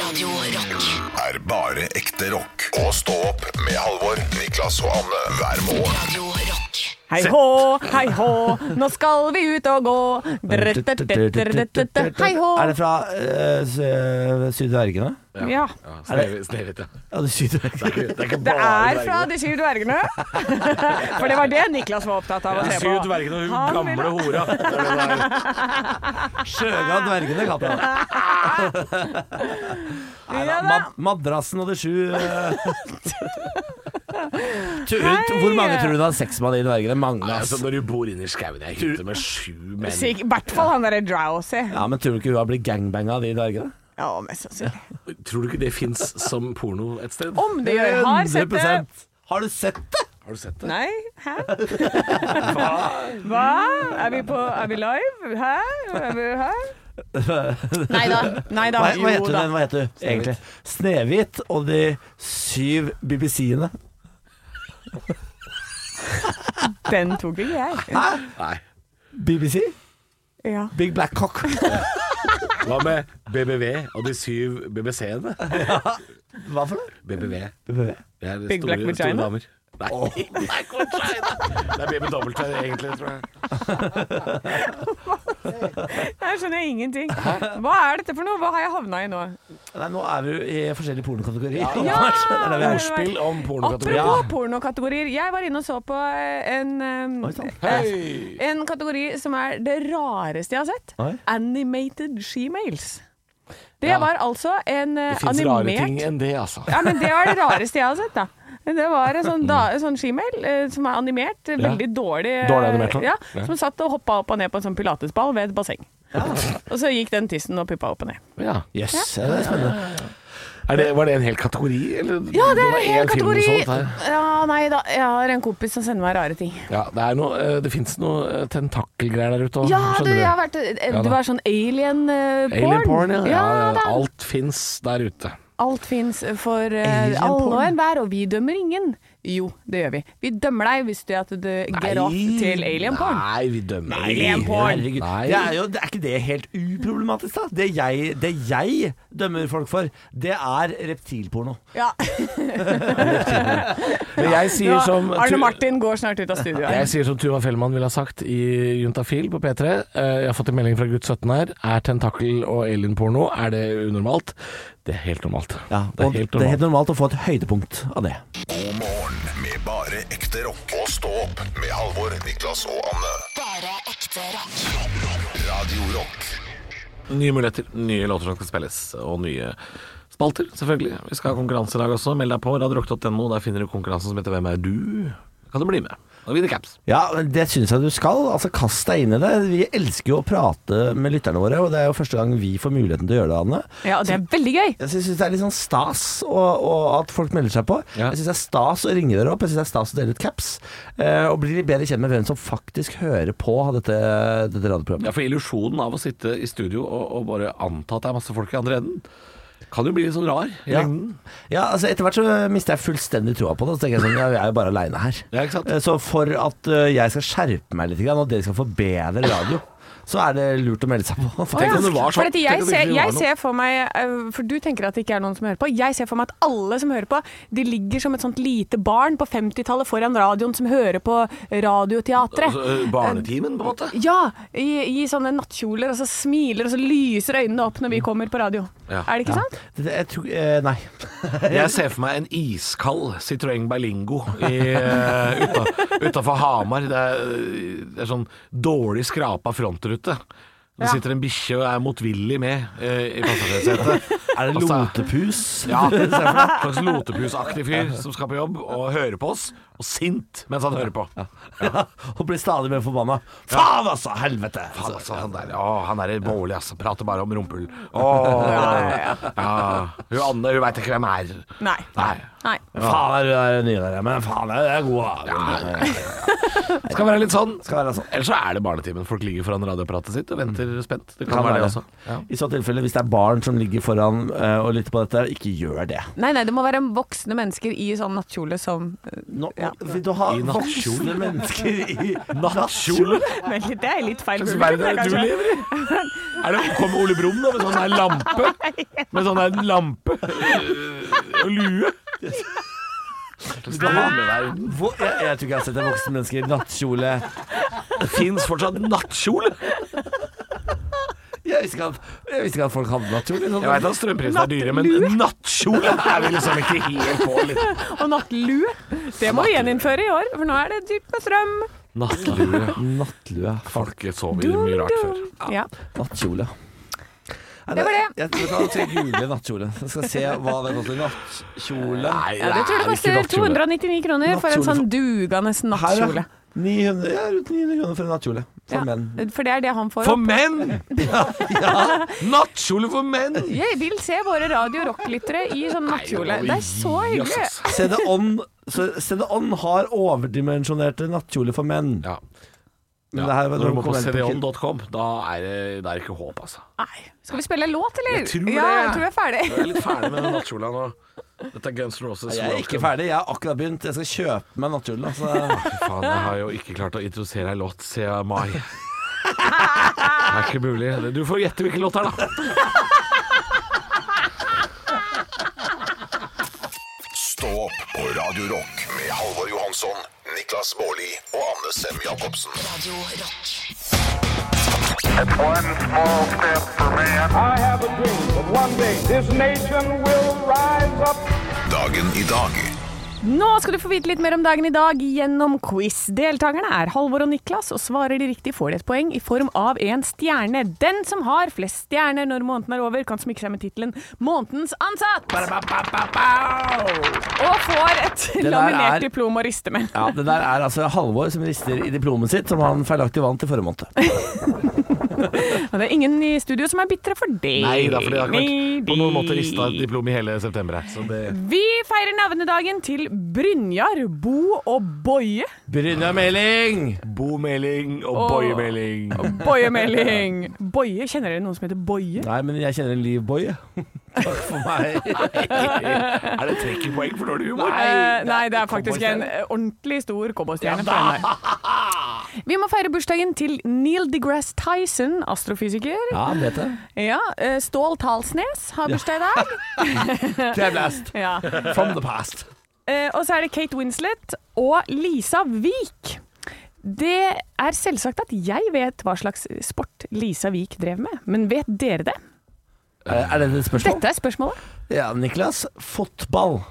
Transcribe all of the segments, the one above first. Radio Rock. er bare ekte rock. Og stå opp med Halvor, Niklas og Anne hver morgen. Radio Rock. Hei hå, hei hå, nå skal vi ut og gå. Hei hå. Er det fra eh, s- eh, Sydvergene? Ja. Ja, Snev- Snehvit, ja. Ja, det er Sydvergene. Det er ikke Det er dverger. fra De syv dvergene. For det var det Niklas var opptatt av å De se syv på. dvergene og Han hun gamle hora. Det er det det er. Sjøga dvergene, kalte jeg det. Nei da, Ja, da. mad madrassen og de sju eh, Tu- hun- Hvor mange tror du det har sex med av de dvergene? Mange, Nei, ass. altså, når du bor inne i skauen i ei hytte med sju menn Sikk- I hvert fall han derre drowsy. Ja, men tror du ikke hun har blitt gangbanga av de dvergene? Ja, mest sannsynlig. Tror du ikke det fins som porno et sted? Om det gjør har sett det. 100%. Har du sett det? Har du sett det? Nei? Hæ? Hva? Er vi på Er vi live? Hæ? Er vi her? Nei da. Nei da. Hva, hva heter Jo hun da. den? Hva heter hun egentlig? Snehvit og de syv BBC-ene. Den tok ikke jeg. Nei. BBC? Ja. Big Black Cock. Hva med BBV og de syv BBC-ene? Hva for noe? BBV. BBV. Det er Big store, Black store Vagina? damer. Nei, Big Black Vagina. Det er BB dobbelt egentlig, tror jeg. Her skjønner jeg ingenting. Hva er dette for noe? Hva har jeg havna i nå? Nei, nå er vi jo i forskjellige pornokategorier. Ja! Det er det vi er. Ordspill om pornokategori. Apropos pornokategorier. Jeg var inne og så på en, um, Oi, sånn. sant. Hei! en kategori som er det rareste jeg har sett. Oi. Animated shemales. Det Ja. var altså en uh, Det fins rare ting animert enn det, altså. Ja, men det var det rareste jeg har sett, da. Det var en sånn, da, en sånn shemale eh, som er animert. eh, Veldig dårlig. eh, Dårlig animert, da. ja, Ja. Som satt og hoppa opp og ned på en sånn pilatesball ved et basseng. Og så gikk den tissen og puppa opp og ned. Ja. Jøss, yes, ja, det er spennende. Er det, var det en hel kategori, eller? Ja, det er var en én hel film du kategori! så, dette her. Ja, nei da. Jeg har en kompis som sender meg rare ting. Ja, det, er noe, eh, det finnes noe eh, tentakelgreier der ute òg. Ja, det, jeg har vært, eh, Ja det da. var sånn alien-porn. Alien porn, ja. ja, ja, da. alt Alt fins der ute. fins for eh, Alien alle og porn? enhver, og vi dømmer ingen. Jo, det gjør vi. Vi dømmer deg hvis du er at du get off til alien-porn. Nei, vi dømmer Nei, ingen. herregud. Nei. Det er, jo, det er ikke det helt uproblematisk, da? Det jeg, det jeg dømmer folk for, det er reptilporno. Ja. Men jeg sier som Arne Tu- Martin går snart ut av studio. her. jeg sier som Tuva Fellmann ville ha sagt i Juntafil på P3. eh, Jeg har fått en melding fra gutt 17 her. Er tentakel- og alienporno er det unormalt? Det er helt normalt. det og er helt det er normalt. helt normalt å få et høydepunkt av det. God morgen med bare ekte rock. Og stå opp med Halvor, Niklas og Anne. Bare ekte rock. Radio Rock Nye muligheter, nye låter som skal spilles, og nye spalter, selvfølgelig. Vi skal ha konkurranse i dag også. Meld deg på radiorock.no. Der finner du konkurransen som heter Hvem er du? Da kan du bli med og vinne caps. Ja, det syns jeg du skal. Altså, Kast deg inn i det. Vi elsker jo å prate med lytterne våre, og det er jo første gang vi får muligheten til å gjøre det, Anne. Ja, og det er veldig gøy. Jeg syns det er litt sånn stas og, og at folk melder seg på. Ja. Jeg syns det er stas å ringe dere opp, jeg syns det er stas å dele ut caps. eh, og bli litt bedre kjent med hvem som faktisk hører på dette, dette radioprogrammet. Ja, for illusjonen av å sitte i studio og, og bare anta at det er masse folk i andre enden, kan jo bli litt sånn rar i Ja. lengden. Ja, altså Etter hvert så mister jeg fullstendig troa på det. Så tenker jeg sånn, ja, jeg er jo bare aleine her. Ja, ikke sant? Eh, Så for at eh, jeg skal skjerpe meg litt, grann, og dere skal få bedre radio, så er det lurt å melde seg på. Tenk om Å, det var sånn. For dette, jeg, Tenk om det ser, ikke var jeg noe. ser for meg øh, For du tenker at det ikke er noen som hører på. Jeg ser for meg at alle som hører på, de ligger som et sånt lite barn på 50-tallet foran radioen som hører på radioteatret. Altså, eh, barnetimen, på en måte. Ja, i, i sånne nattkjoler, og så smiler, og så lyser øynene opp når vi kommer på radio. Ja. Er det ikke sant? Det- det- Jeg tror, eh, nei. Jeg ser for meg en iskald Citroën Berlingo i, eh, uta, utafor Hamar. Det er, det er sånn dårlig skrapa frontrute. Det Ja. sitter en bikkje og er motvillig med eh, i passasjersetet. Er det Altså- lotepus? Ja, se for deg en slags lotepusaktig fyr som skal på jobb og hører på oss, og sint mens han hører på. Ja, og blir stadig mer forbanna. Faen, altså! Helvete! Faen, altså, han der, å, han er Bårli, altså. Prater bare om rumpehull. Å, Ja, ja, ja. Hun Anne, hun veit ikke hvem er. Nei. Nei. Nei. Faen, er du er ny der, ja, men faen, er du er god, da. Skal være litt sånn. Skal være sånn. Ellers så er det barnetimen. Folk ligger foran radioapparatet sitt og venter spent. Det Mm. kan, Kan være det være. også. Ja. I så tilfelle, hvis det er barn som ligger foran eh, og lytter på dette, ikke gjør det. nei, nei, det må være voksne mennesker i sånn nattkjole som øh, Nå, Ja. Vil du ha I nattkjole? voksne mennesker i Nattkjole? Men det er litt feil. Hva slags publikum, verden er det, det du kanskje. lever i? Er det, kom Ole Brumm da med sånn der lampe? Med sånn der lampe øh, og lue? Hvor, jeg, jeg tror ikke jeg har sett et voksen menneske i nattkjole. Det fins fortsatt nattkjole. Jeg visste ikke at, jeg visste ikke at folk hadde nattkjole. Sånn. Jeg veit at strømprisene er dyre, men nattkjole er vi liksom ikke helt på. Litt. Og nattlue. Det må vi gjeninnføre i år, for nå er det dyrt med strøm. Nattlue. Nattlue. Folk sov i mye rart før. Ja. Nattkjole. Nei, Det var det. Jeg, jeg, jeg skal google nattkjole. Jeg skal se hva det koster. Nattkjole Nei, ja, det tror jeg er ikke koster nattkjole. 299 kroner for en Nattkjole sånn dugende Her, nattkjole. ja. 900, ja, rundt 900 kroner for en nattkjole. For Ja, menn. for det er det han får For opp. menn! Nattkjole for menn! Jeg vil se våre Radio Rock-lyttere i sånn nattkjole. Det er så hyggelig. CD On, så CD On har overdimensjonerte nattkjoler for menn. Ja. Men Ja. det her var Når du noe må på kommentar- cdon.com, da er det, det er ikke håp, altså. Nei. Skal vi spille en låt, eller? Jeg tror det. ja, jeg tror vi er Jeg er ferdig. litt ferdig med den nattkjola nå. Dette er Guns N' Roses. Jeg er ikke ferdig, jeg har akkurat begynt. Jeg skal kjøpe meg nattkjolen. Altså. Faen, jeg har jo ikke klart å introdusere ei låt siden mai. Det er ikke mulig. Du får gjette hvilken låt det er, da. Stå opp på Radio Rock med Halvor Johansson, Niklas Baarli og Anne Sem Jacobsen. Radio Rock. It's one small step for man. I have a dream that one day this nation will rise up. Dagen i dag Nå skal du få vite litt mer om dagen i dag gjennom quiz. Deltakerne er Halvor og Niklas, og svarer de riktig får de et poeng i form av en stjerne. Den som har flest stjerner når måneden er over, kan smykke seg med tittelen 'Månedens ansatt' og får et der laminert er- diplom å riste med. Ja, det der er altså Halvor som rister i diplomet sitt, som han feilaktig vant i forrige måned. Og det er ingen i studio som er bitre for det. Nei da, for det har ikke Nei, vært på noen måte de- rista et diplom i hele september her. Så det Vi feirer navnedagen til Brynjar, Bo og Boje. Brynja Meling! Bomeling og Åh. boymeling. Bojemelding. Boje, kjenner dere noen som heter Boje? Nei, men jeg kjenner en livboy. Takk for meg. Er det trekkerpoeng for dårlig humor? Eh, nei, det er faktisk en eh, ordentlig stor cowboystjerne. Ja, vi må feire bursdagen til Neil deGrasse Tyson, astrofysiker. Ja, han vet det. Ja, eh, Stål Talsnes har bursdag i dag. Clear blast Ja. from the past. Eh, og så er det Kate Winslet og Lisa Wiik. Det er selvsagt at jeg vet hva slags sport Lisa Wiik drev med, men vet dere det? Eh, Er det et spørsmål? Dette er spørsmålet. Ja, Niklas. Fotball.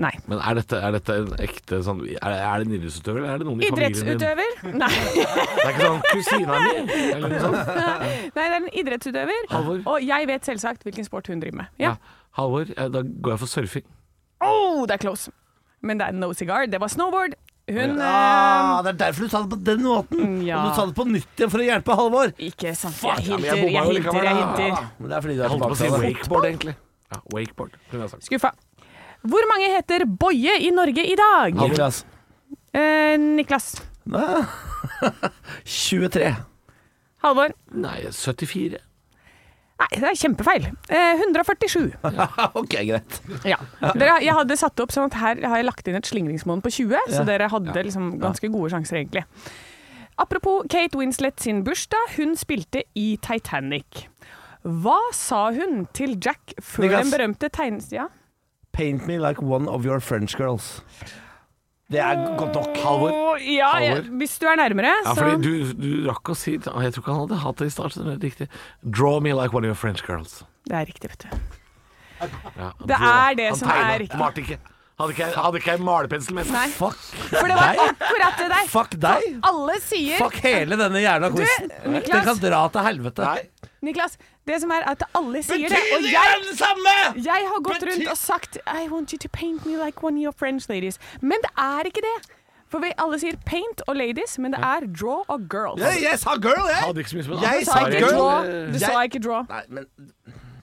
Nei. Men er dette, er dette en ekte sånn Er det, er det en idrettsutøver, eller er det noen i familien din? Idrettsutøver? Nei. Det er ikke sånn kusina mi, eller noe sånt? Nei, det er en idrettsutøver. Halvor? Og jeg vet selvsagt hvilken sport hun driver med. Ja. Ja. Halvor, eh, da går jeg for surfing. Oh, det er close. Men det er no cigar. Det var snowboard. Hun Ah, det er derfor du sa det på den måten. Ehm, Mm, ja. Og du sa det på nytt igjen for å hjelpe Halvor. eh, Ikke sant. Fuck, Jeg ja, men hinter, jeg bomma jeg hinter, jo jeg likevel, da. hinter. Men det er fordi du er Jeg holdt på å si tilbake til det. wakeboard, egentlig. Ja, wakeboard, kunne jeg sagt. Skuffa. Hvor mange heter Boje i Norge i dag? Niklas. Eh, Niklas. Nei. 23. Halvor. Nei, 74. Nei, det er kjempefeil. Eh, 147. Ok, greit. Ja. Dere, jeg hadde satt opp sånn at her har jeg lagt inn et slingringsmål på 20, så Ja. dere hadde liksom ganske gode sjanser, egentlig. Apropos Kate Winslet sin bursdag. Hun spilte i Titanic. Hva sa hun til Jack før Niklas. den berømte tegnes... Ja? Paint me like one of your French girls. Det er godt nok. Halvor. Å, ja, jeg, Halvor. hvis du er nærmere, Ja, så fordi du, du rakk å si Jeg tror ikke han hadde hatt det i starten. Det er riktig. Draw me like one of your French girls. Det er riktig, vet du. Ja, Det draw. er det Han som tegnet, er riktig. Malte ikke. Hadde ikke, jeg- hadde ikke jeg malepensel med. Nei. Fuck. For det var akkurat det der. Fuck deg. Alle sier Fuck hele denne jævla quizen. Niklas. Den kan dra til helvete. Niklas, det som er at alle sier det, og Betydningen jeg er den samme! Jeg har gått Bety- rundt og sagt I want you to paint me like one of your French ladies. Men det er ikke det. For vi alle sier paint og ladies, men det er draw og girls. Jeg, jeg sa girl, jeg. Hadde ikke så mye Eh, som Jeg Du sa sa ikke girl. draw. Du Jeg- sa ikke draw. Nei, men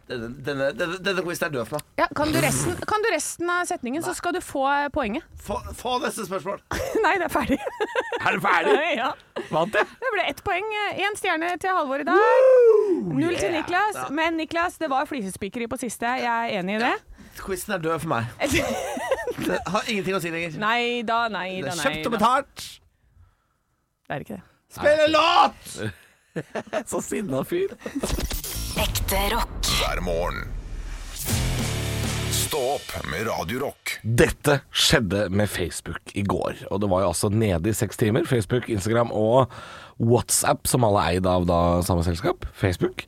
Denne, denne, denne, denne quizen er død for meg. Ja, kan, du resten, kan du resten av setningen, så skal du få eh, poenget. Få, få neste spørsmål. Nei, det er ferdig. Er du ferdig? ja. Vant jeg? Det ble ett poeng. Én stjerne til Halvor i dag. Null til Niklas. Men Niklas, det var flisespikkeri på siste. Jeg er enig i det. Quizen er død for meg. Det har ingenting å si lenger. Nei da, nei Det da, er nei kjøpt og da. betalt. Det er ikke det. Spill en låt! Så sinna fyr. Ekte rock. hver morgen. Stå opp med Radio Rock. Dette skjedde med Facebook i går, og det var jo altså nede i seks timer. Facebook, Instagram og WhatsApp, som alle er eid av da samme selskap, Facebook.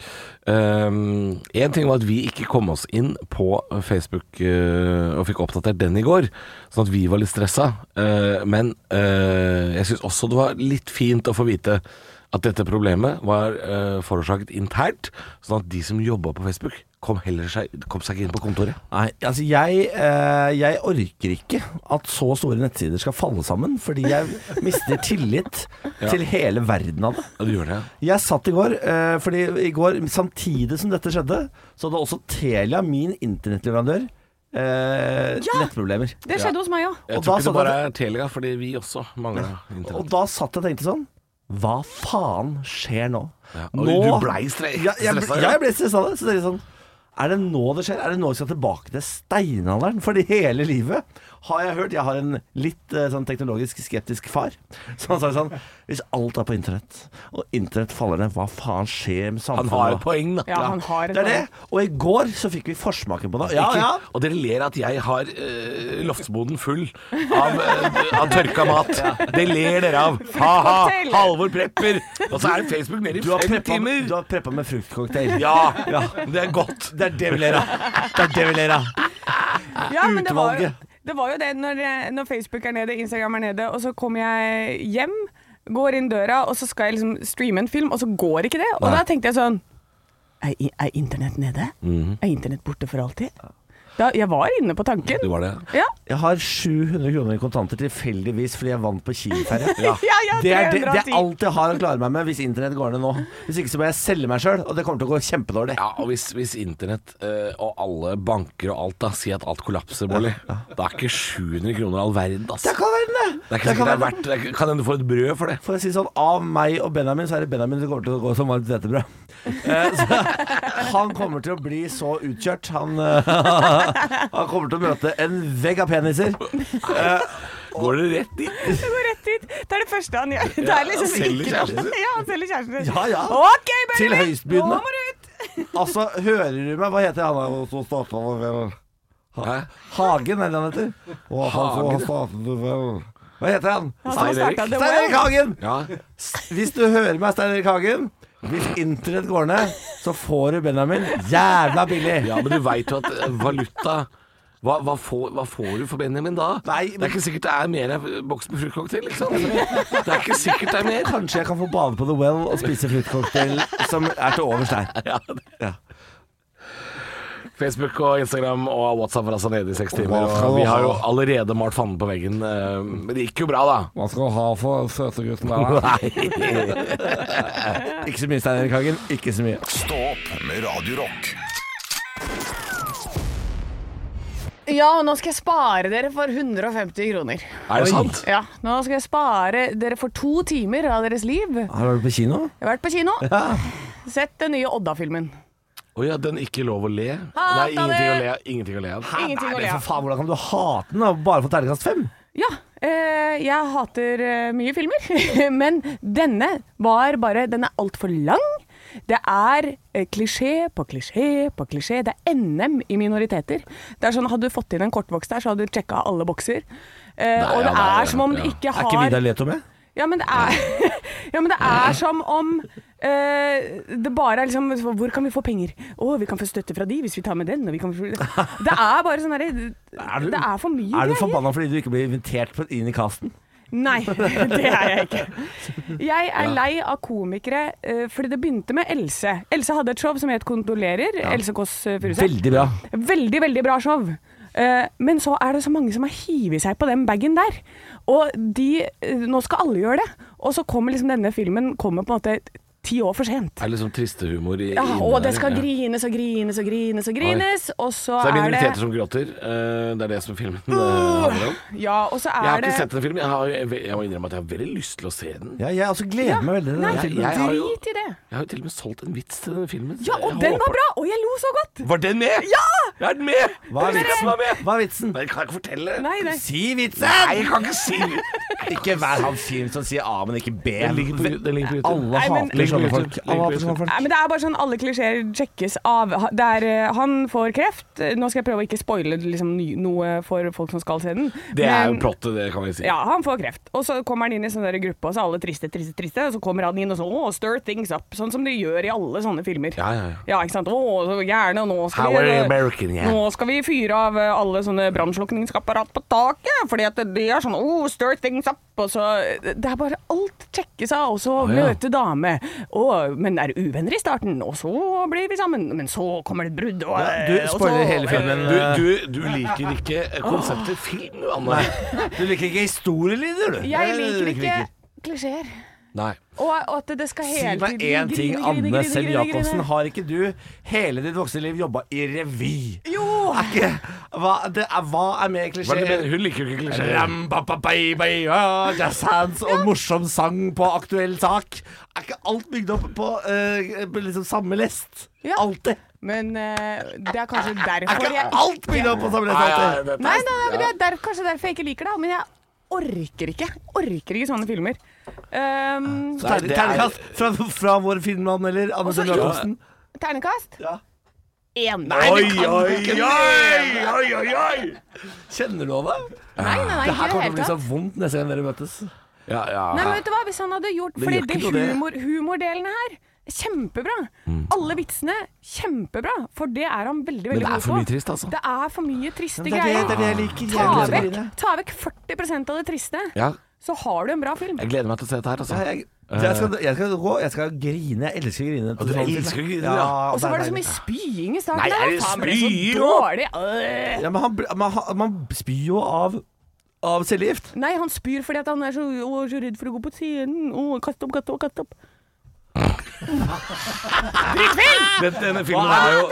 Én ting var at vi ikke kom oss inn på Facebook eh, og fikk oppdatert den i går, sånn at vi var litt stressa. Eh, men eh, jeg syns også det var litt fint å få vite at dette problemet var eh, forårsaket internt, sånn at de som jobba på Facebook, kom, heller seg, kom seg ikke inn på kontoret. Nei, altså jeg, eh, jeg orker ikke at så store nettsider skal falle sammen, fordi jeg mister tillit til hele verden av det. Ja, du gjør det, ja. Jeg satt i går, eh, fordi i går samtidig som dette skjedde, så hadde også Telia, min internettleverandør, eh, nettproblemer. Det skjedde hos meg òg. Jeg Og tror da ikke satt det bare jeg- er Telia, fordi vi også mangler Og internett. da satt jeg og tenkte sånn Hva faen skjer nå? Ja, og nå du blei stre- ja, jeg, stressa, ble- ja. Jeg ble stressa av det. Så tenkte jeg sånn Er det nå det skjer? Er det nå vi skal tilbake til steinalderen? Fordi hele livet har jeg hørt Jeg har en litt eh, sånn teknologisk skeptisk far. Så han sa sånn Hvis alt er på internett, og internett faller ned, hva faen skjer med Han samfunnet? har da? et poeng, da. Ja, han har et det er det. poeng. Og i går så fikk vi forsmaken på det. Ja, Ikke- ja. Og dere ler at jeg har eh, loftsboden full av, eh, av tørka mat. Det ler dere av. Ha-ha! Fruktcocktail. Halvor prepper. Og så er Facebook nede i Du har fem preppa- timer. du har preppa med fruktcocktail. Ja, det er godt. Det er det vi ler av. Det er det vi ler av. Ja, men det var, jo- Utvalget. det var jo det når, eh, når Facebook er nede, Instagram er nede, og så kommer jeg hjem, går inn døra, og så skal jeg liksom streame en film, og så går ikke det. Og Nei. da tenkte jeg sånn Er, i- er internett nede? Mhm. Er internett borte for alltid? Da, jeg var inne på tanken. Det var det. Ja. Jeg har 700 kroner i kontanter tilfeldigvis fordi jeg vant på Kiel-ferja. Ja, ja, det, er det, 310. det er alt jeg har å klare meg med hvis internett går ned nå. Hvis ikke så må jeg selge meg sjøl, og det kommer til å gå kjempedårlig. Ja, og hvis, hvis internett eh, og alle banker og alt da sier at alt kollapser, Bolly, da er ikke 700 kroner all verden, altså. Det kan være det! Det er ikke sikkert det er verdt det. er ikke- Kan hende du får et brød for det. For å si sånn, Av meg og Benjamin, så er det Benjamin som kommer til å gå som varmt hvetebrød. Eh, så Han kommer til å bli så utkjørt. Han, eh, han kommer til å møte en vegg av peniser. Går det rett dit? Det går rett dit. Det er det første han gjør. Det er liksom han selger ikke- kjæresten sin. Ja, han selger kjæresten sin. Ja, ja. Ok, Til Benjamin, høystbydende. Nå må du ut. Altså, hører du meg? Hva heter han der som starta vel Hæ? Hagen, er det han heter? Og han som Hagen. startet vel Hva heter han? Han Stein startet Erik. The Stein Erik Well. Hagen! Ja. Hvis du hører meg, Stein Erik Hagen Hvis internett går ned, så får du Benjamin jævla billig. Ja, men du veit jo at eh, valuta hva, hva, får, hva får du for Benjamin da? Nei, Det er ikke sikkert det er mer enn en boks med fruktcocktail, liksom. Det er ikke sikkert det er mer. Kanskje jeg kan få bade på The Well og spise fruktcocktail som er til overs der. Facebook og Instagram og WhatsApp var altså nede i seks timer. Hva skal Og du vi har ha? jo allerede malt fanden på veggen. eh, Men det gikk jo bra, da. Hva skal du ha for søte gutten der? Ikke så mye, Stein Erik Hagen. Ikke så mye. Stå opp med Radio Rock Ja, og nå skal jeg spare dere for 150 kroner. Er det sant? Ja, nå skal jeg spare dere for to timer av deres liv. Jeg Her var du på kino? har vært på kino. Sett den nye Odda-filmen. Å ja, den ikke lov å le? Nei, Hata ingenting å det! le, ingenting å le av. Ingenting å le Nei, men for av. faen, hvordan kan du hate den da? bare for terningkast fem? Ja, eh, jeg hater eh, mye filmer, men denne var bare Den er altfor lang. Det er eh, klisjé på klisjé på klisjé. Det er NM i minoriteter. Det er sånn, Hadde du fått inn en kortboks der, så hadde du sjekka alle bokser. Eh, Nei, og det ja, det er er det. som om Ja. det ikke Er ikke har Vidar Leto med? Ja, men det er, ja, men det er som om eh, det bare er liksom Hvor kan vi få penger? Å, vi kan få støtte fra de hvis vi tar med den. Og vi kan få, det er bare sånn herre du- Det er for mye Er du greier. forbanna fordi du ikke blir invitert på- inn i casten? Nei, det er jeg ikke. Jeg er lei av komikere eh, fordi det begynte med Else. Else hadde et show som het Kondolerer. Else Kåss eh, Furuseth. Veldig bra. Veldig, veldig bra show. Eh, Men så er det så mange som har hivet seg på den bagen der. Og de eh, Nå skal alle gjøre det. Og så kommer liksom denne filmen kommer på en måte Ti år for sent. Det er liksom tristehumor i Ja, inni og der, det skal ja. grines og grines og grines og grines, og så Så det er er det minoriteter som gråter. eh, det er det som filmen eh, handler om. Ja, og så Jeg har er ikke sett det den filmen. Jeg, har, jeg, jeg må innrømme at jeg har veldig lyst til å se den. Ja, jeg også gleder meg veldig til Nei, denne filmen. jeg har jo- drit i det. Jeg har jo til og med solgt en vits til denne filmen. så Ja, og jeg den var håper- bra, og jeg lo så godt. Var den med? Ja! Er den med? Hva er Den vitsen? var med. Hva er vitsen? Nei, jeg kan ikke fortelle. Nei, nei. Si Nei, vitsen! jeg kan ikke si det. Ikke vær han fyren som sier A, men ikke B. Den ligger på, den ligger på YouTube. Alle Nei, men- hater sånne Ligger på folk. YouTube. Alle Ligger hater på sånne folk. Nei, men Det er bare sånn alle klisjeer sjekkes av. Ha- Det er, eh, han får kreft. Eh, Nå skal jeg prøve å ikke spoile liksom, ny- noe for folk som skal se den. Det er jo Men- plottet, det kan vi si. Ja, han får kreft. Og så kommer han inn i sånn der gruppe, og så er alle triste, triste, triste. Og så kommer han inn og sånn Å, stir things up. Sånn som de gjør i alle sånne filmer. Ja, ja, ja. ikke sant. Å, så gjerne, og nå skal How vi are American, yeah. Nå skal vi fyre av eh, alle sånne brannslukningsapparat på taket, fordi at det er sånn oh, stir things up. Og så eh, Det er bare alt sjekkes av, og så Å, ja. møte til dame, og, men er uvenner i starten, og så blir vi sammen, men så kommer det et brudd, og, eh, Ja, du og spoiler så- hele filmen. eh. Du, du, du liker ikke konseptet film, du, Anne. Du liker ikke historielyder, du. Jeg Det er det du liker ikke klisjeer, Nei. og, og at det skal Si hele tiden meg én ting, grine, grine, Anne grine, Sem grine, grine. Jacobsen. Har ikke du hele ditt voksne liv jobba i revy? Jo! Er ikke, hva, det er, hva er mer Hva er det du mener? klisjé? Hun liker jo ikke klisjeer. Ram-ba-ba-ba-ba, ja, Jazz hands og morsom sang på aktuell sak. Er ikke alt bygd opp på eh, på liksom samme lest? Ja. Alltid. Men eh, det er kanskje Er derfor ikke jeg alt bygd opp på samme lest? Nei, ja, alltid? dette er- Nei, nei, nei, men det er der, kanskje derfor jeg ikke liker det, men jeg orker ikke. Orker ikke sånne filmer. Um, Nei, det er- Terningkast fra, fra vår filmanmelder Anne Sem så- Jacobsen. Ternekast? Ja. Én. Oi, det kan oi, du ikke. oi, oi, oi, oi! Kjenner du av det? Nei, nei, nei, Det ikke her i det kommer til å hele bli tatt. så vondt neste gang dere møtes. Ja, Nei, men ja. vet du hva, hvis han hadde gjort Det Fordi gjør det ikke noe, det. humor, humordelene her er Kjempebra. Mm. Alle vitsene, kjempebra. For det er han veldig, veldig det er god for mye trist, altså. Det er for mye triste Det er det, det er greier. det jeg Ta liker. Jeg gleder meg til vekk, dine. ta vekk 40 av det triste, ja. så har du en bra film. Jeg gleder meg til å se dette her, Ja, altså. jeg, jeg, skal, jeg skal gå, jeg skal grine. Jeg elsker å grine. du elsker å grine, ja. ja. Og så det er var det så deilig. mye spying i starten. Nei, der, er det faen, ble så spying dårlig. Øh. ja, men han, bl- man, han- man spyr jo av, av cellegift. Nei, han spyr fordi at han er så, å, så redd for å gå på scenen. Å, kast opp, kast opp, kast opp. Denne, denne filmen er jo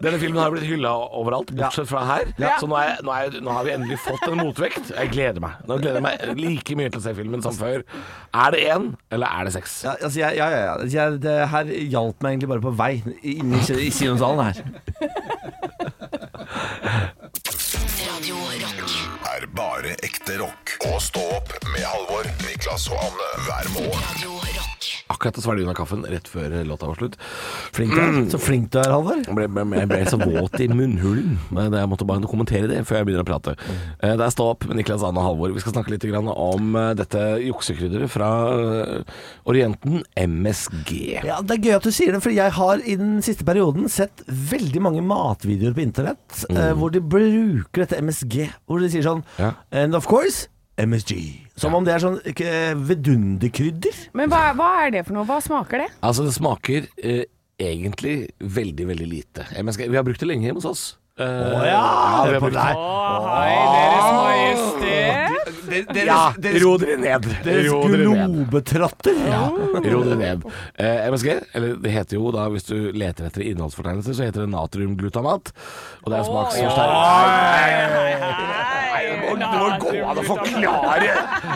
denne filmen har jo blitt hylla overalt, bortsett fra her. Så nå, er, jeg- nå, er, jeg- nå har vi endelig fått en motvekt. Jeg gleder meg. Nå gleder jeg meg like mye til å se filmen som før. Er det én, eller er det seks? Ja, altså, jeg, ja, ja, ja. Jeg, det her hjalp meg egentlig bare på vei inn i, i kinosalen her. Radio Rock. er bare ekte rock. Og stå opp med Halvor, Niklas og Anne hver morgen. Radio Rock. Akkurat å svelge unna kaffen rett før låta var slutt. Flink du er. Så flink du er, Halvor. Jeg ble, ble, jeg ble så våt i munnhulen. Men Jeg måtte bare kommentere det før jeg begynner å prate. Eh, Det er Stå opp med Niklas Anne og Halvor. Vi skal snakke litt grann om eh, dette juksekrydderet fra eh, Orienten, MSG. Ja, Det er gøy at du sier det, for jeg har i den siste perioden sett veldig mange matvideoer på internett eh, hvor de bruker dette MSG. Hvor de sier sånn Ja. And of course MSG. Som om det er sånn eh, vidunderkrydder. Men hva, hva er det for noe? Hva smaker det? Altså, det smaker eh, egentlig veldig, veldig lite. MSG, vi har brukt det lenge hjemme hos oss. Eh, vi har hør på brukt det her. Hei, Deres Majestet. Ja, ro dere ned. Deres Ro dere ned. globetrotter. Ro dere ned. Eh, MSG, eller det heter jo da, hvis du leter etter innholdsfortegnelser, så heter det natriumglutamat. Og det er smaksforsterker. Det må- det må gå an å forklare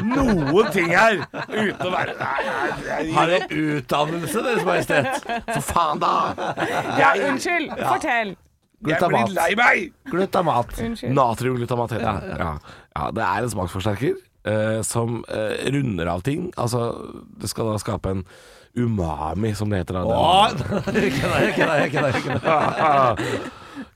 noen ting her uten å være Nei, nei, nei, Har dere utdannelse, Deres Majestet? For faen, da! Ja, unnskyld. Fortell. Glutamat. meg! Glutamat. Unnskyld. Natriumglutamat heter det. Ja. ja, det er en smaksforsterker eh, som eh, runder av ting. Altså, det skal da skape en umami, som det heter. Da. Åh, Kødder, kødder, kødder, kødder.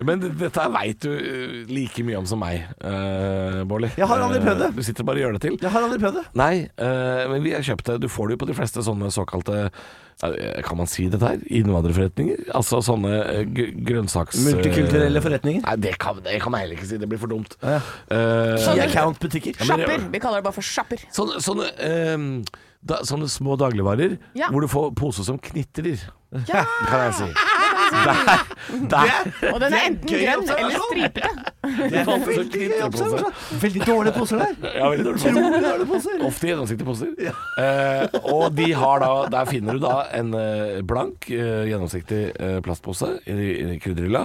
Men d- dette veit du eh, like mye om som meg, eh, Bårli. Jeg har aldri prøvd det. Eh, Du sitter bare og gjør det til. Jeg har aldri prøvd det. Nei, eh, men vi har kjøpt det. Du får det jo på de fleste sånne såkalte eh, Kan man si dette her? Innvandrerforretninger? Altså sånne eh, gr- grønnsaks... Multikulturelle forretninger. Nei, det kan, det kan man heller ikke si. Det blir for dumt. Ja. Eh, Key account-butikker. Sjapper. Vi kaller det bare for sjapper. sånne, sånne, ehm, da, sånne små dagligvarer Ja. hvor du får pose som knitrer, Ja, kan jeg si. Der, der. Og den er enten gøy grønn observasjon. sånn. eller stripete. Det er veldig gøy observasjon. Veldig dårlige poser der. Ja, veldig dårlig Utrolig poser. dårlige poser. Ofte gjennomsiktige poser. Eh, og de har da, der finner du da en eh, blank, eh, gjennomsiktig eh, plastpose i, i krydderhylla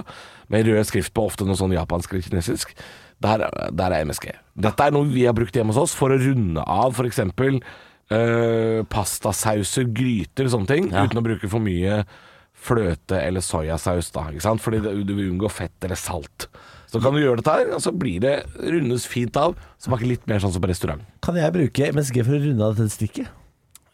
med rød skrift på, ofte noe sånn japansk eller kinesisk. Der, er- der er MSG. Dette er noe vi har brukt hjemme hos oss for å runde av f.eks. Uh, pastasauser, gryter, sånne ting, uten å bruke for mye fløte eller soyasaus. da, ikke sant? Fordi det, du vil unngå fett eller salt. Så kan du gjøre dette her, og så blir det rundes fint av. Smaker litt mer sånn som på restaurant. Kan jeg bruke MSG for å runde av dette stykket?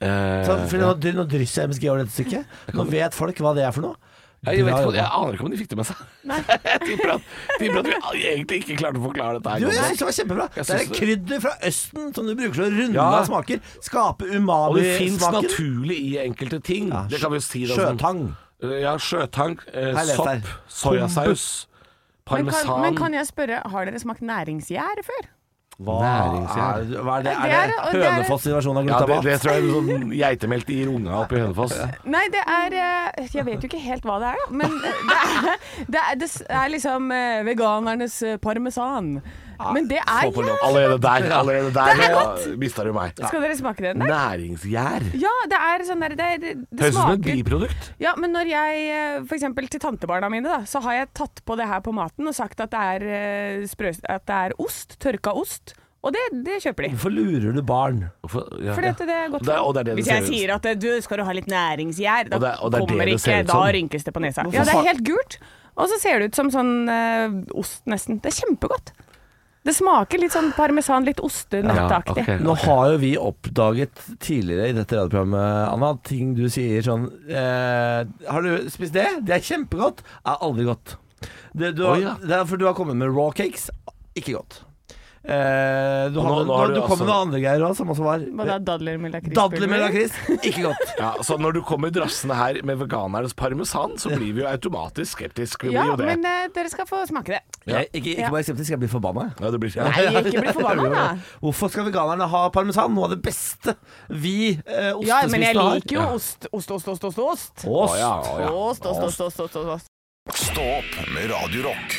Eh, Så, for nå, nå drysser jeg MSG over dette stykket. Nå vet folk hva det er for noe. ja, jeg, vet, Bra ikke om- jobba. jeg aner ikke om de fikk det med seg. jeg tipper at, tipper at vi al- egentlig ikke klarte å forklare dette her. Jo, godt jeg nok. synes det var kjempebra. Jeg Det er synes et krydder fra Østen som du bruker til å runde Ja. av smaker. Skape og det fins umami-smaken. naturlig i enkelte ting. Ja, det kan vi jo si. da, sånn- Sjøtang. Eh, Ja, sjøtang, eh, Her leser jeg. sopp, soyasaus, Men kan, parmesan men kan jeg spørre, har dere smakt næringsgjær før? Hva Næringsgjær. er, hva er det? Det er- Er og det det er- Hønefoss-versjonen av ja, det, glutamat? det tror jeg er sånn geitemelk i runga oppe i Hønefoss. Nei, det er eh, Jeg vet jo ikke helt hva det er, da. Men det er, det er, det er liksom eh, veganernes eh, parmesan. Men det er Ah, Få på lov. jævlig Allerede der, allerede Det er der mista du meg. Skal dere smake den? der? Næringsgjær. Ja, det er sånn der Det, det, det Høres ut som et smaker biprodukt. Ja, men når jeg f.eks. til tantebarna mine, da, så har jeg tatt på det her på maten og sagt at det er, eh, sprø, at det er ost, tørka ost, og det, det kjøper de. Hvorfor lurer du barn? Hvorfor- ja, Fordi at det er godt Det er- og det er det det Hvis jeg ser ut. sier at eh, du skal du ha litt næringsgjær, da Og det er- og det er det kommer det ser ikke ut Da som. rynkes det på nesa. Hvorfor Ja, det sa- er helt gult, og så ser det ut som sånn eh, ost, nesten. Det er kjempegodt. Det smaker litt sånn parmesan, litt ostenøtteaktig. Ja, ok. Nå har jo vi oppdaget tidligere i dette radioprogrammet, Anna, ting du sier sånn eh, Har du spist det? Det er kjempegodt. Er aldri godt. Det, du har, Å, ja. det er for du har kommet med raw cakes. Ikke godt. Eh, du, Og har, nå- nå, nå har du, du kom altså- med noen andre greier òg, som også var eh, Hva da? Dadler med lakris? Dadler med lakris. Ikke godt. Ja, så når du kommer drassende her med veganernes parmesan, så blir vi jo automatisk skeptisk. Vi Ja, blir jo det. men eh, dere skal få smake det. Jeg, ikke ikke Ja. bare skeptisk, jeg blir forbanna. jeg. Ja, det blir Nei, ikke bli forbanna, da. Hvorfor skal veganerne ha parmesan? Noe av det beste vi eh, ostespisende Ja, har. men jeg liker jo ost, ost, ost, ost, ost, ost. Å ja, å ja. Ost, ost, ost, ost, ost, ost, ost. Stå opp med Radio Rock.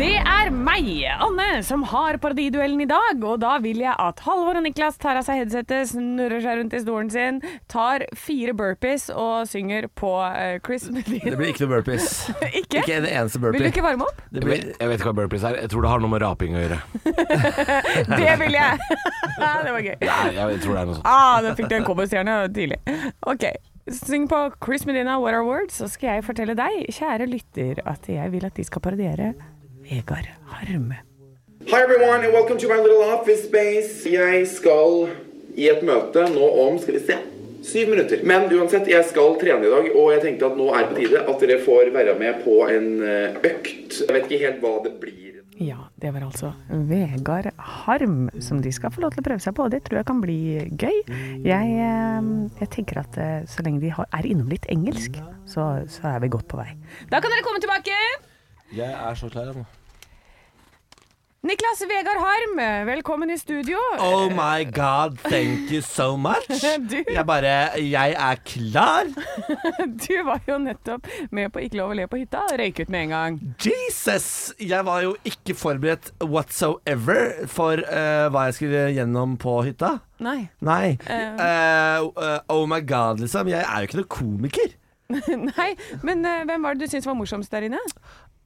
Det er meg, Anne, som har parodiduellen i dag. Og da vil jeg at Halvor og Niklas tar av seg headsetet, snurrer seg rundt i stolen sin, tar fire burpees og synger på eh, Chris Det Medina. blir ikke noe burpees. Ikke? Ikke en eneste Vil du burpee. ikke varme opp? Det Jeg blir vet, jeg vet ikke hva burpees er. Jeg tror det har noe med raping å gjøre. Det vil jeg! det var gøy. Nei, jeg tror det er noe sånt. Ah, da fikk du en cowboystjerne tidlig. Ok, syng på Chris Medina, What Are Words, så skal jeg fortelle deg, kjære lytter, at jeg vil at de skal parodiere Vegard Harm. Hi everyone and welcome to my little office space. Jeg skal i et møte nå om skal vi se, syv minutter. Men uansett, jeg skal trene i dag, og jeg tenkte at nå er det på tide at dere får være med på en eh, økt. Jeg vet ikke helt hva det blir. Ja, det var altså Vegard Harm som de skal få lov til å prøve seg på, og det tror jeg kan bli gøy. Jeg, eh, jeg tenker at eh, så lenge de har, er innom litt engelsk, så, så er vi godt på vei. Da kan dere komme tilbake! Jeg er så klar nå. Niklas Vegard Harm, velkommen i studio. Oh my god, thank you so much. Du- Jeg bare Jeg er klar. Du var jo nettopp med på Ikke lov å le på hytta og røyk ut med en gang. Jesus! Jeg var jo ikke forberedt whatsoever for eh, hva jeg skulle gjennom på hytta. Nei. Nei. Eh. Eh, eh, oh my god, liksom. Jeg er jo ikke noen komiker. Nei, men eh, hvem var det du syntes var morsomst der inne?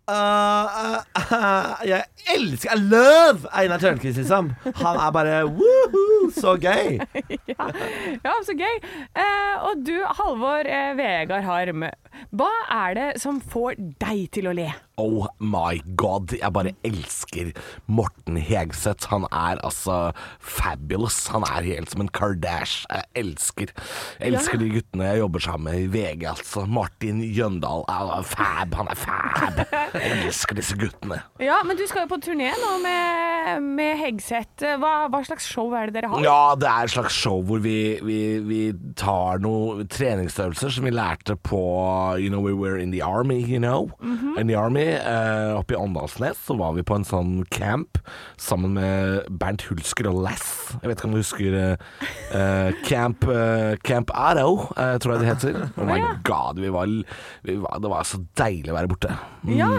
Eh, eh, eh, jeg elsker I love Einar Tørnquist, liksom. Han er bare woohoo, så gøy. Ja, så gøy. Eh, og du, Halvor eh, Vegard Harm. Hva er det som får deg til å le? Oh my god, jeg bare elsker Morten Hegseth. Han er altså fabulous. Han er helt som en Kardash. Jeg elsker elsker de guttene jeg jobber sammen med i VG, altså. Martin Jøndal er fab. Han er fab. Jeg elsker disse guttene. Ja, men du skal jo på turné nå med, med Hegseth. Hva, hva slags show er det dere har? Ja, det er et slags show hvor vi, vi, vi tar noen treningsøvelser som vi lærte på You know, we were in the army, you know. In the army. eh, oppe i Åndalsnes så var vi på en sånn camp sammen med Bernt Hulsker og Lass. Jeg vet ikke om du husker eh, eh, Camp eh, Camp Arrow, eh, tror jeg det heter. Oh my god, vi var, vi var, det var så deilig å være borte. Mm. Ja.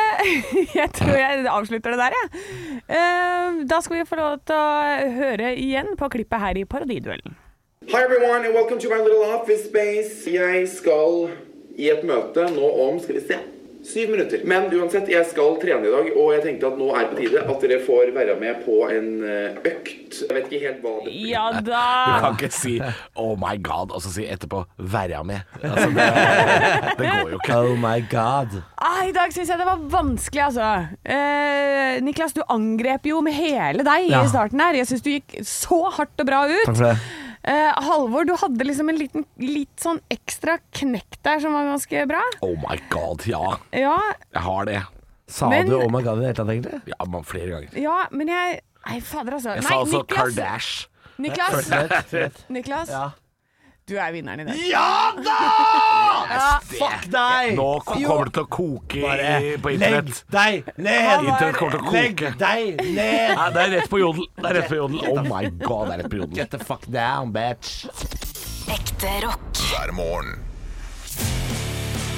Eh, Jeg tror jeg avslutter det der, jeg. Eh, Da skal vi få lov til å høre igjen på klippet her i Parodiduellen. Hi everyone and welcome to my little office space. Jeg skal i et møte nå om skal vi se, syv minutter. Men uansett, jeg skal trene i dag, og jeg tenkte at nå er det på tide at dere får være med på en eh, økt. Jeg vet ikke helt hva det Ja Du da! kan ikke si 'oh my god' og så si etterpå 'verja mi'. Altså, det, det går jo ikke. Oh my god. Ah, I dag syns jeg det var vanskelig, altså. Eh, Niklas, du angrep jo med hele deg Ja. i starten her. Jeg syns du gikk så hardt og bra ut. Takk for det. Eh, Halvor, du hadde liksom en liten, litt sånn ekstra knekk der som var ganske bra. Oh my god, ja. Ja, Jeg har det. Sa Men- du oh my god i det hele tatt, egentlig? Ja, man, flere ganger. ja men jeg Nei, fader, altså. Jeg Nei, sa altså Niklas. Kardash. Niklas, Rett, rett. Niklas Ja. du er vinneren i dag. Ja da! Fuck deg! Nå ko- kommer det til å koke i, på legg internett. deg ned! Internett kommer til å Legg koke. deg ned! Nei, det er rett på jodel. Det er rett på jodel. Oh my god, det er rett på jodel. the fuck down, bitch. Ekte rock. hver morgen.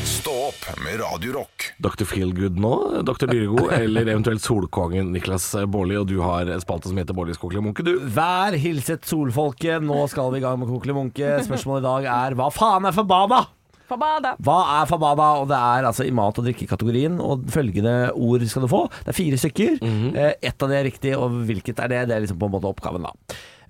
Stå opp med Radio Rock. Dr. Feelgood nå, Dr. Dyregod, eller eventuelt Solkongen Niklas Baarli, og du har en spalte som heter Baarlis kokelige munke, du. Vær hilset solfolket, nå skal vi i gang med Kokkeli Munke. Spørsmålet i dag er hva faen er fabada? Fabada. Hva er fabada? Og det er altså i mat- og drikkekategorien, og følgende ord skal du få. Det er fire stykker. Eh, Ett av de er riktig, og hvilket er det? Det er liksom på en måte oppgaven, da.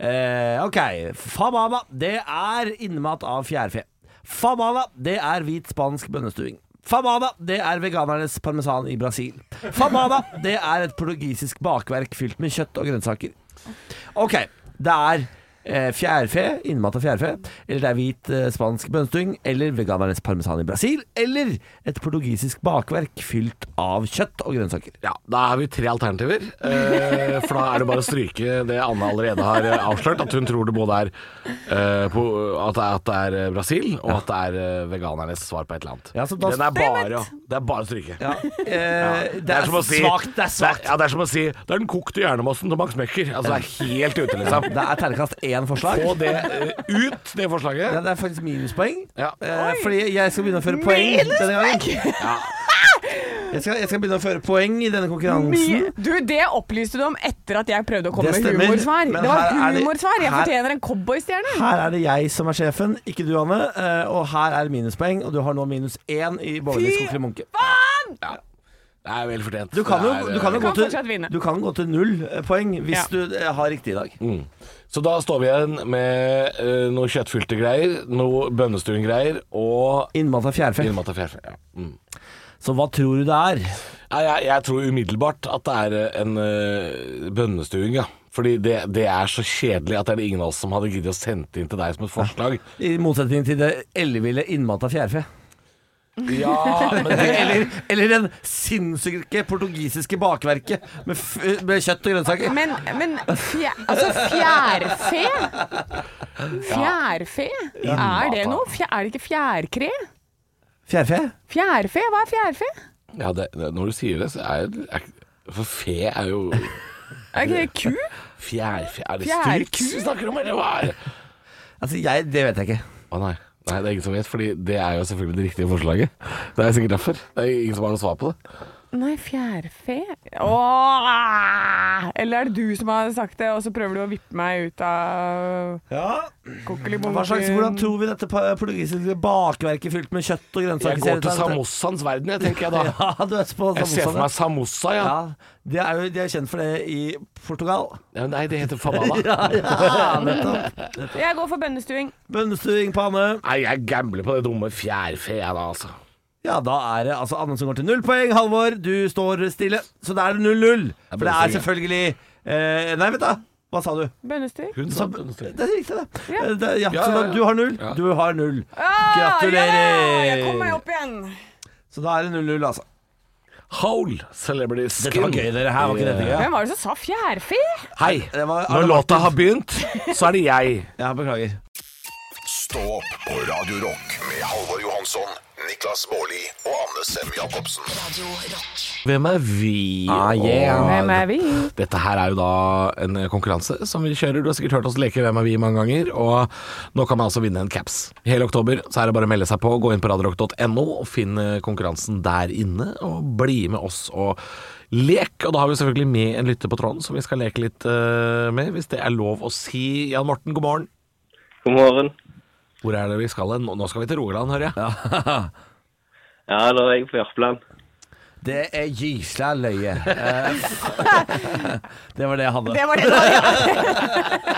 Eh, ok. Fabada, det er innmat av fjærfe. Fabada, det er hvit spansk bønnestuing. Fabada, det er veganernes parmesan i Brasil. Fabada, det er et portugisisk bakverk fylt med kjøtt og grønnsaker. Ok, det er eh, fjærfe, innmat av fjærfe, eller det er hvit eh, spansk bønnstung, eller veganernes parmesan i Brasil, eller et portugisisk bakverk fylt av kjøtt og grønnsaker. Ja, da har vi tre alternativer. eh, For da er det bare å stryke det Anne allerede har eh, avslørt. At hun tror det både er eh, på, at, det er- at det er eh, Brasil, og at det er eh, veganernes svar på et eller annet. Ja, så da- Den er bare, å- det er bare å stryke. Eh, det, Det er er som å si svakt, det er svakt. Det er, ja, det er som å si Det er den kokte hjernemassen til Max Mekker. Altså, det er helt ute, liksom. Det er ternekast én forslag. Få det eh, ut, det Ja, forslaget. det er faktisk minuspoeng, Ja. eh, fordi jeg skal begynne å føre poeng denne gangen. Jeg skal, jeg skal begynne å føre poeng i denne konkurransen. Du, det opplyste du om etter at jeg prøvde å komme Det med stemmer, humorsvar. men Det var her er det- humorsvar. Jeg her- fortjener en cowboystjerne. Her er det jeg som er sjefen, ikke du, Anne. Eh, og her er minuspoeng, og du har nå minus én i Borgerligs Fy Kokkeli Munke. Det er vel fortjent. Du kan jo, Det er, du kan jo eh, gå, kan fortsatt til, vinne. du kan gå til null eh, poeng hvis Ja. du eh, har riktig i dag. mm. Så da står vi igjen med eh, noe kjøttfylte greier, noe bønnestuing-greier og Innmat av fjærfe. Innmat av fjærfe. Ja. Mm. Så hva tror du det er? Nei, jeg, jeg tror umiddelbart at det er eh, en uh, bønnestuing, ja. Fordi det, det er så kjedelig at det er det ingen av oss som hadde giddet å sende inn til deg som et forslag. I motsetning til det elleville innmat av fjærfe. Ja, men det, Eller, eller den sinnssyke portugisiske bakverket med, f eh, med kjøtt og grønnsaker. Men, men fje, altså fjærfe? Fjærfe? Er det noe? Fje- er det ikke fjærkre? Fjærfe? Fjærfe? Hva er fjærfe? ja det, det, Når du sier det, så er det er ikke- For fe er jo Er ikke det ku? fjærfe Er det Fjærku? struts vi snakker om, eller hva er det? Altså, jeg, det vet jeg ikke. Å nei. nei, det er ingen som vet, Fordi det er jo selvfølgelig det riktige forslaget. Det er sikkert derfor. Det er ingen som har noe svar på det. Nei, fjærfe Åh! Eller er det du som har sagt det, og så prøver du å vippe meg ut av Ja. Hva slags, hvordan tror vi dette pa- portugisiske bakverket fylt med kjøtt og grønnsaker Jeg går til ser ut? samossaens verden, jeg, tenker jeg da. Ja, du er på Jeg ser for samossaene. meg samossa, ja. sånn, Ja, de er jo de er kjent for det i Portugal. Ja, men Nei, det heter fabada. Ah, Jeg går for bønnestuing. Bønnestuing, panne. Nei, jeg gambler på det dumme fjærfe, jeg da, altså. Ja, da er det altså Anne som går til null poeng. Halvor, du står stille. Så da er det 0-0. For det er selvfølgelig eh, Nei, vent da. Hva sa du? Bønnestuing. Hun sa bønnestuing. Det er riktig, det. Ja. Eh, det ja, Ja, så ja, da, ja. du har null. Ja. Du har null. Jeg kommer meg Gratulerer. opp igjen. Så da er det 0-0, altså. Hole Celebrity Skin. Dette var gøy, dere. Her var ikke dette gøy? Hvem var det som sa fjærfe? Hei, Det var- når låta har begynt, så er det jeg. Ja, beklager. Stå opp på Radio Rock med Halvor Johansson, Niklas Baarli og Anne Sem Jacobsen. Radio Rock. Hvem er vi? Ah, Hvem er vi? Dette her er jo da en konkurranse som vi kjører. Du har sikkert hørt oss leke Hvem er vi mange ganger, og nå kan man altså vinne en caps. Hele oktober så er det bare å melde seg på. Gå inn på radiorock.no og finn eh, konkurransen der inne, og bli med oss og lek. Og da har vi selvfølgelig med en lytter på tråden som vi skal leke litt eh, med, hvis det er lov å si. Jan Morten, god morgen. God morgen. Hvor er det vi skal hen? Nå- Nå skal vi til Rogaland, hører jeg. Ja, da er jeg på Jørpeland. Det er gysla løye. Eh, det var det jeg hadde. Det var det det var.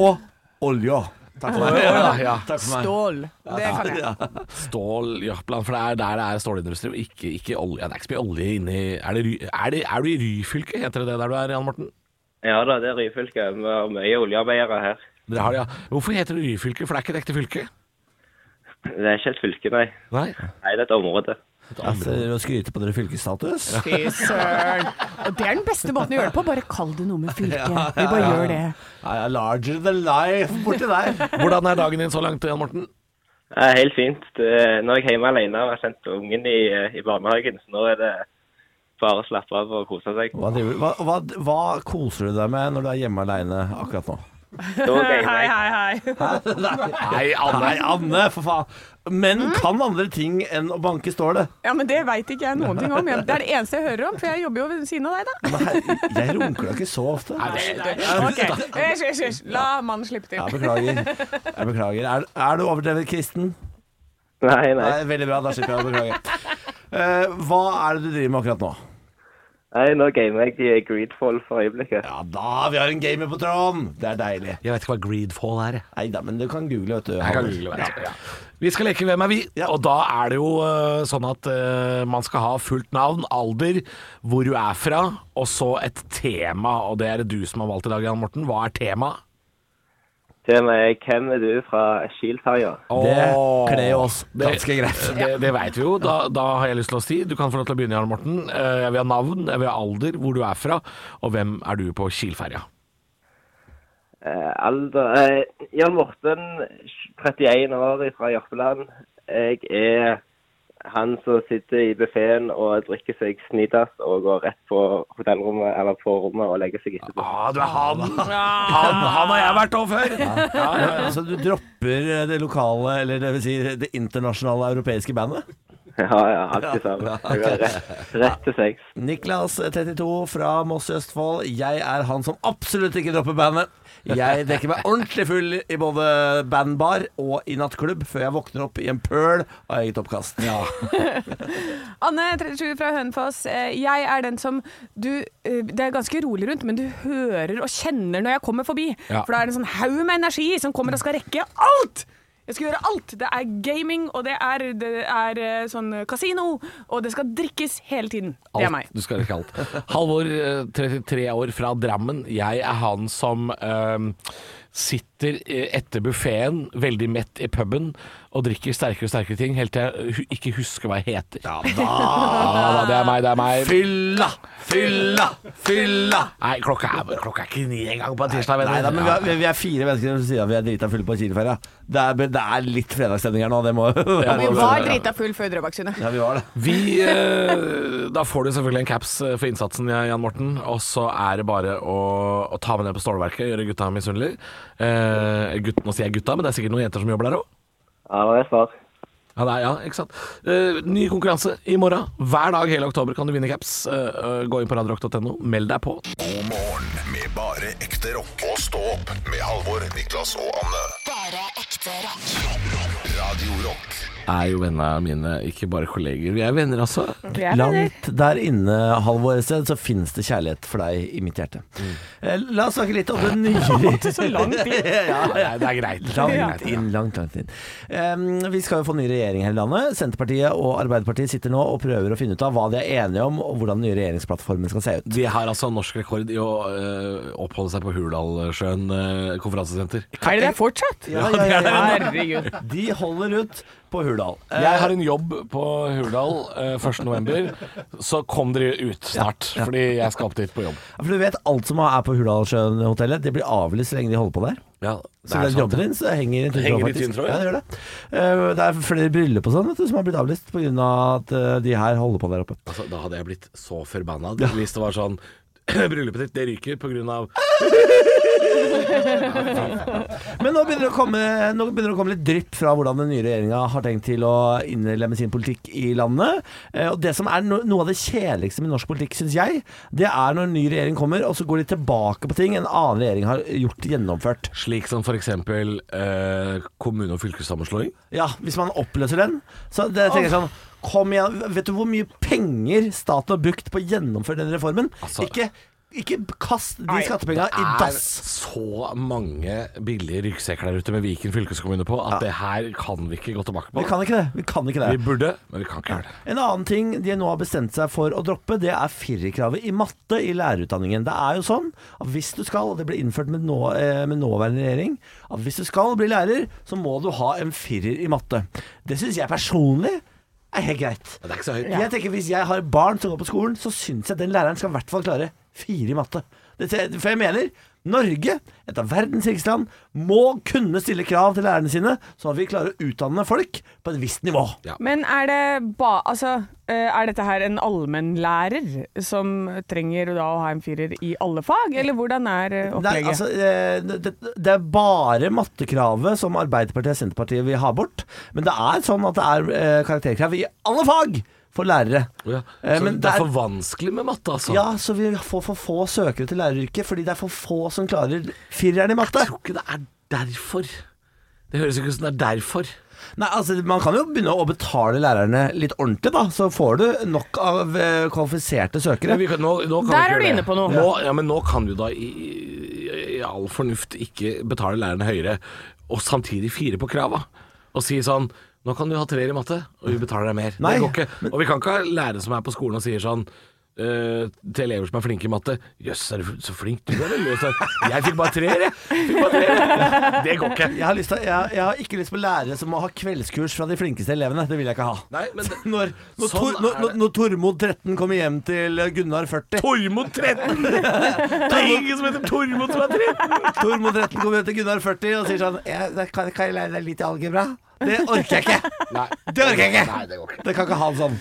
Og olja. Takk for meg. Ja, ja. Takk for meg. Stål. Det kan jeg. Stål, Jørpeland, for det er der det er stålindustri, og ikke, ikke olje. Ja, Det er ikke så mye olje inni Er, det, Ry- er, det, er du i Ryfylke, heter det det der du er, Jan Morten? Ja da, det er Ryfylke. Vi har mye oljearbeidere her. Dere har det, ja. Hvorfor heter det Ryfylke, for det er ikke et ekte fylke? Det er ikke et fylke, nei. Nei. Nei, det er et område. Altså, å skryte på dere fylkesstatus? Fy søren. Og det er den beste måten å gjøre det på. Bare kall det noe med fylket. Vi bare gjør det. Ja, ja, larger than life borti der. Hvordan er dagen din så langt, Jan Morten? Det er helt fint. Det, nå er jeg hjemme alene og har sendt ungen i, eh, i barnehagen, så nå er det bare å slappe av og kose seg. Hva, driver, hva, hva, hva koser du deg med når du er hjemme aleine akkurat nå? Da gamer Hei, jeg. hei, hei. Nei, Anne. Nei, Anne, for faen. Menn kan andre ting enn å banke stålet. Ja, men det veit ikke jeg noen ting om. Jeg- Det er det eneste jeg hører om, for jeg jobber jo ved siden av deg, da. Nei, jeg runker da ikke så ofte. Ok, Hysj, hysj, hysj. La mannen slippe til. Jeg beklager. Jeg beklager. Er, er du overdrevet kristen? Nei, nei. Nei, veldig bra, da slipper jeg å beklage. Eh, hva er det du driver med akkurat nå? nei nå gamer jeg i Greedfall for øyeblikket. Ja da, vi har en gamer på tråden! Det er deilig. Jeg vet ikke hva Greedfall er. jeg. Nei da, men du kan google, vet du. Jeg kan google det. Ja. Vi skal leke Hvem er vi? Ja. Og da er det jo eh, sånn at eh, man skal ha fullt navn, alder, hvor du er fra, og så et tema. Og det er det du som har valgt i dag, Jan Morten. Hva er temaet? Temaet er 'Hvem er du?' fra Kielferja. Det Åh. kler jo oss ganske greit. Det, det veit vi jo. Da, da har jeg lyst til å si Du kan få lov til å begynne, Jarl Morten. Eh, Jeg vil ha navn, jeg vil ha alder, hvor du er fra, og hvem er du på Kielferja? Eh, alder eh, Jan Morten, 31 år fra Jørpeland. Jeg er han som sitter i buffeen og drikker seg snidas og går rett på hotellrommet eller på rommet og legger seg etterpå. Ah, du er han! Han, han har jeg vært òg før! Ja, ja, ja. Så du dropper eh, det lokale, eller det vil si det internasjonale europeiske bandet? Ja, ja, alt det samme. Jeg går rett, rett til sex. Niklas, eh, 32, fra Moss i Østfold. Jeg er han som absolutt ikke dropper bandet. Jeg dekker meg ordentlig full i både bandbar og i nattklubb før jeg våkner opp i en pøl av eget oppkast. Anne, 37 fra Hønefoss. Eh, Jeg er den som du eh, Det er ganske rolig rundt, men du hører og kjenner når jeg kommer forbi. Ja. For da er det en sånn haug med energi som kommer og skal rekke alt! Jeg skal gjøre alt! Det er gaming, og det er, det er eh, sånn kasino, og det skal drikkes hele tiden. Det er meg. Alt. Du skal rekke alt. Halvor, eh, 33 år fra Drammen. Jeg er han som ehm, sitter eh, etter buffeen, veldig mett i puben, og drikker sterkere og sterkere ting, helt til jeg hu- ikke husker hva jeg heter. Ja da! det er meg, det er meg. Fylla, fylla, fylla! Nei, klokka er, klokka er ikke ni engang på en tirsdag, venner. Nei da, men vi er, vi er fire mennesker som sier at vi er drita fulle på Kielferja. Det, er- det er litt fredagsstemning her nå, det må Ja, Vi men- var drita full før Drøbaksundet. Ja, vi var det. Vi, eh, da får du selvfølgelig en caps eh, for innsatsen, Jan Morten. Og så er det bare å, å ta med ned på stålverket, gjøre gutta misunnelige. Eh, gutt, nå sier jeg gutta, men det er sikkert noen jenter som jobber der òg. Ja, det er svar. Ja, det er, ja, ikke sant. Eh, ny konkurranse i morgen. Hver dag hele oktober kan du vinne caps. Eh, eh, gå inn på radiorock.no, meld deg på. God morgen med bare ekte rock. Og stå opp med Halvor, Niklas og Anne. Bare ekte rock. Radio Rock. Er jo venner mine, ikke bare kolleger. Vi er venner, altså. Langt der inne, Halvor et sted, så finnes det kjærlighet for deg i mitt hjerte. Eh, La oss snakke litt om det nye Så langt inn. ja, Nei, det er greit. Det er Langt greit. inn, langt, langt inn. Em, vi skal jo få ny regjering her i landet. Senterpartiet og Arbeiderpartiet sitter nå og prøver å finne ut av hva de er enige om, og hvordan den nye regjeringsplattformen skal se ut. De har altså norsk rekord i å eh, oppholde seg på Hurdalssjøen eh, konferansesenter. Er det det fortsatt? Ja, ja, ja, ja. Herregud. De holder ut på Hurdal. Eh, Jeg har en jobb på Hurdal eh, 1. november, så kom dere ut snart, fordi jeg skal opp dit på jobb. for du vet alt som er på Hurdalssjøen hotellet, det blir avlyst så lenge de holder på der. Ja, Så den jobben din så henger i en tynn Henger tråd, i tynn faktisk. tråd, ja. Ja, det gjør det. Eh, det er flere bryllup og sånn vet du, som har blitt avlyst pga. Av at eh, de her holder på der oppe. Altså, da hadde jeg blitt så forbanna hvis det var sånn Bryllupet ditt, det ryker på grunn av Men nå begynner det å komme, nå begynner det å komme litt drypp fra hvordan den nye regjeringa har tenkt til å innlemme sin politikk i landet. Eh, Og det som er no noe av det kjedeligste med norsk politikk, syns jeg, det er når en ny regjering kommer, og så går de tilbake på ting en annen regjering har gjort gjennomført. Slik som f.eks. Eh, kommune- og fylkessammenslåing. Ja, hvis man oppløser den. Så det tenker jeg sånn Kom igjen. Vet du hvor mye penger staten har brukt på å gjennomføre den reformen? Altså- ikke, ikke kast de skattepenga i er dass. så mange billige ryggsekker der ute med Viken fylkeskommune på at det her kan vi ikke gå tilbake på. Vi kan ikke det. Vi kan ikke det. Vi burde, men vi kan ikke gjøre det. En annen ting de nå har bestemt seg for å droppe, det er firerkravet i matte i lærerutdanningen. Det er jo sånn at hvis du skal, og det ble innført med, nå, eh, med nåværende regjering, at hvis du skal bli lærer, så må du ha en firer i matte. Det syns jeg personlig er helt greit. Det er ikke så høyt. Jeg tenker Hvis jeg har barn som går på skolen, så syns jeg den læreren skal i hvert fall klare fire i matte. Det, for jeg mener Norge, et av verdens rikeste land, må kunne stille krav til lærerne sine, sånn at vi klarer å utdanne folk på et visst nivå. Men er det ba... Altså, eh, er dette her en allmennlærer som trenger da å ha en firer i alle fag, eller hvordan er eh, Nei, opplegget? altså, eh, det, det er bare mattekravet som Arbeiderpartiet og Senterpartiet vil ha bort. Men det er sånn at det er eh, karakterkrav i alle fag for lærere. Ja. Eh, Så men det det er er- for vanskelig med matte, altså. Ja, så vi får for få søkere til læreryrket fordi det er for få som klarer fireren i matte. Jeg tror ikke det er derfor. Det høres ikke ut som det er derfor. Nei, altså, Man kan jo begynne å betale lærerne litt ordentlig, da. Så får du nok av eh, kvalifiserte søkere. Men vi kan, nå, nå kan Der vi ikke er du gjøre inne det. på noe. Nå, ja, men nå kan du da i, i- i all fornuft ikke betale lærerne høyere, og samtidig fire på krava. Og si sånn Nå kan du ha treer i matte, og vi betaler deg mer. Nei, det går ikke. Og vi kan ikke ha lærere som er på skolen og sier sånn eh, til elever som er flinke i matte 'Jøss, er du så flink du er, eller?' Så, Jeg fikk bare treer, jeg. Fikk bare treer. Det går ikke. Jeg har, lyst til, jeg, jeg har ikke lyst på lærere som må ha kveldskurs fra de flinkeste elevene. Det vil jeg ikke ha. Nei, men det- når, når, Sånn Tor, når, er når, det. når Tormod 13 kommer hjem til Gunnar 40 Tormod 13! Det er ingen som heter Tormod som er 13! Tormod 13 kommer hjem til Gunnar 40 og sier sånn jeg, da kan, kan jeg lære deg litt i algebra? Det orker jeg ikke. Nei, Det orker jeg Nei, ikke. det går ikke. Det kan ikke ha det sånn.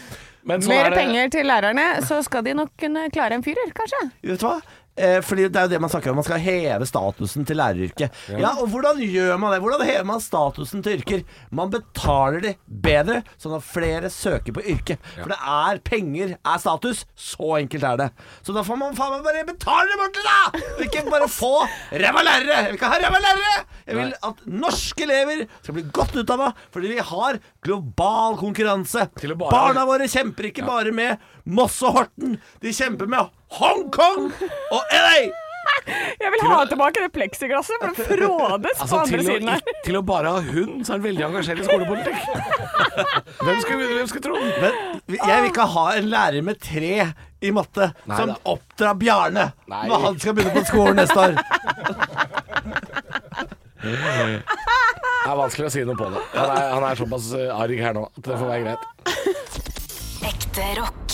Men sånn er Mer det- penger til lærerne, så skal de nok kunne klare en firer, kanskje? Vet du hva? Eh, fordi det er jo det man snakker om. Man skal heve statusen til læreryrket. Ja. og hvordan gjør man det? Hvordan hever man statusen til yrker? Man betaler de bedre, sånn at flere søker på yrket. For det er penger er status. Så enkelt er det. Så da får man faen meg bare betale det borte, da! Og Ikke bare få ræva lærere! Jeg vil ikke ha ræva lærere! Jeg vil at norske elever skal bli godt utdanna, fordi vi har global konkurranse. Til å bare- Barna våre kjemper ikke bare med Moss og Horten. De kjemper med Hongkong og LA! Jeg vil ha tilbake det pleksiglasset, for det frådes Altså, på andre til, å, siden her. ikke- til å bare ha hund, så er han veldig engasjert i skolepolitikk. Hvem skulle, hvem skulle tro det? Men jeg vil ikke ha en lærer med tre i matte Nei som da. oppdrar Bjarne Nei. når han skal begynne på skolen neste år. Det er vanskelig å si noe på det. Han er, han er såpass eh, arg her nå at det får være greit. Ekte rock.